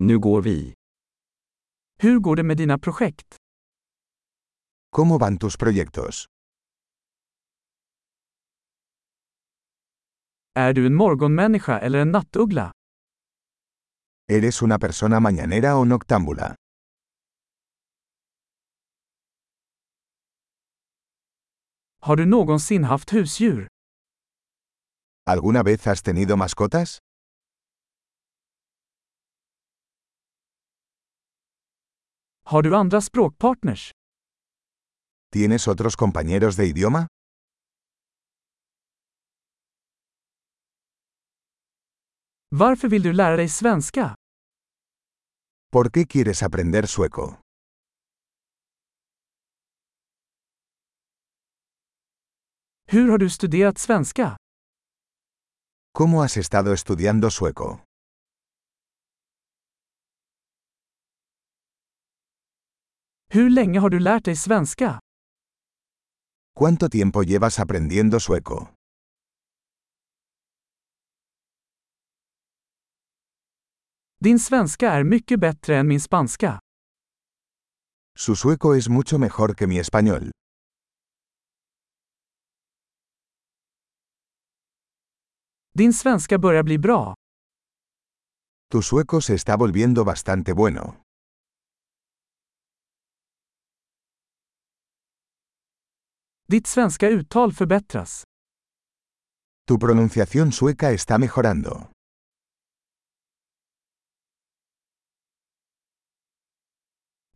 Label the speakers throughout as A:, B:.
A: Nu går vi.
B: Hur går det med dina projekt?
C: ¿Cómo van tus proyectos?
B: Är du en morgonmänniska eller en nattuggla?
C: ¿Eres una persona mañanera o noctámbula?
B: Har du någonsin haft husdjur?
C: ¿Alguna vez has tenido mascotas?
B: Har du andra språkpartners?
C: ¿Tienes otros compañeros de idioma?
B: Varför vill du lära dig svenska?
C: ¿Por qué quieres aprender sueco?
B: Hur har du studerat svenska?
C: ¿Cómo has estado estudiando sueco?
B: Hur länge har du lärt dig svenska?
C: ¿Cuánto tiempo llevas aprendiendo sueco?
B: Din svenska är mycket bättre än min spanska.
C: Su sueco es mucho mejor que mi español.
B: Din svenska börjar bli bra.
C: Tu sueco se está volviendo bastante bueno.
B: Ditt svenska uttal förbättras.
C: Tu pronunciación sueca está mejorando.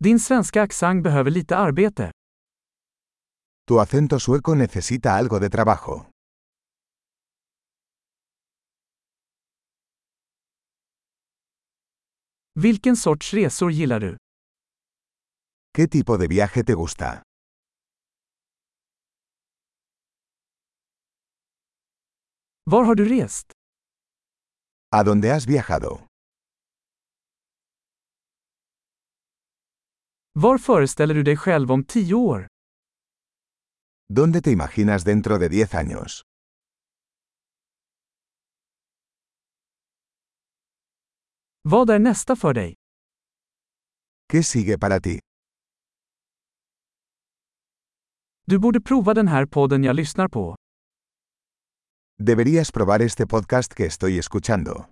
B: Din svenska accent behöver lite arbete.
C: Tu acento sueco necesita algo de trabajo.
B: Vilken sorts resor gillar du?
C: ¿Qué tipo de viaje te gusta?
B: Var har du rest?
C: ¿A dónde has viajado?
B: Var föreställer du dig själv om tio år?
C: ¿Dónde te imaginas dentro de 10 años?
B: Vad är nästa för dig?
C: ¿Qué sigue para ti?
B: Du borde prova den här podden jag lyssnar på.
C: Deberías probar este podcast que estoy escuchando.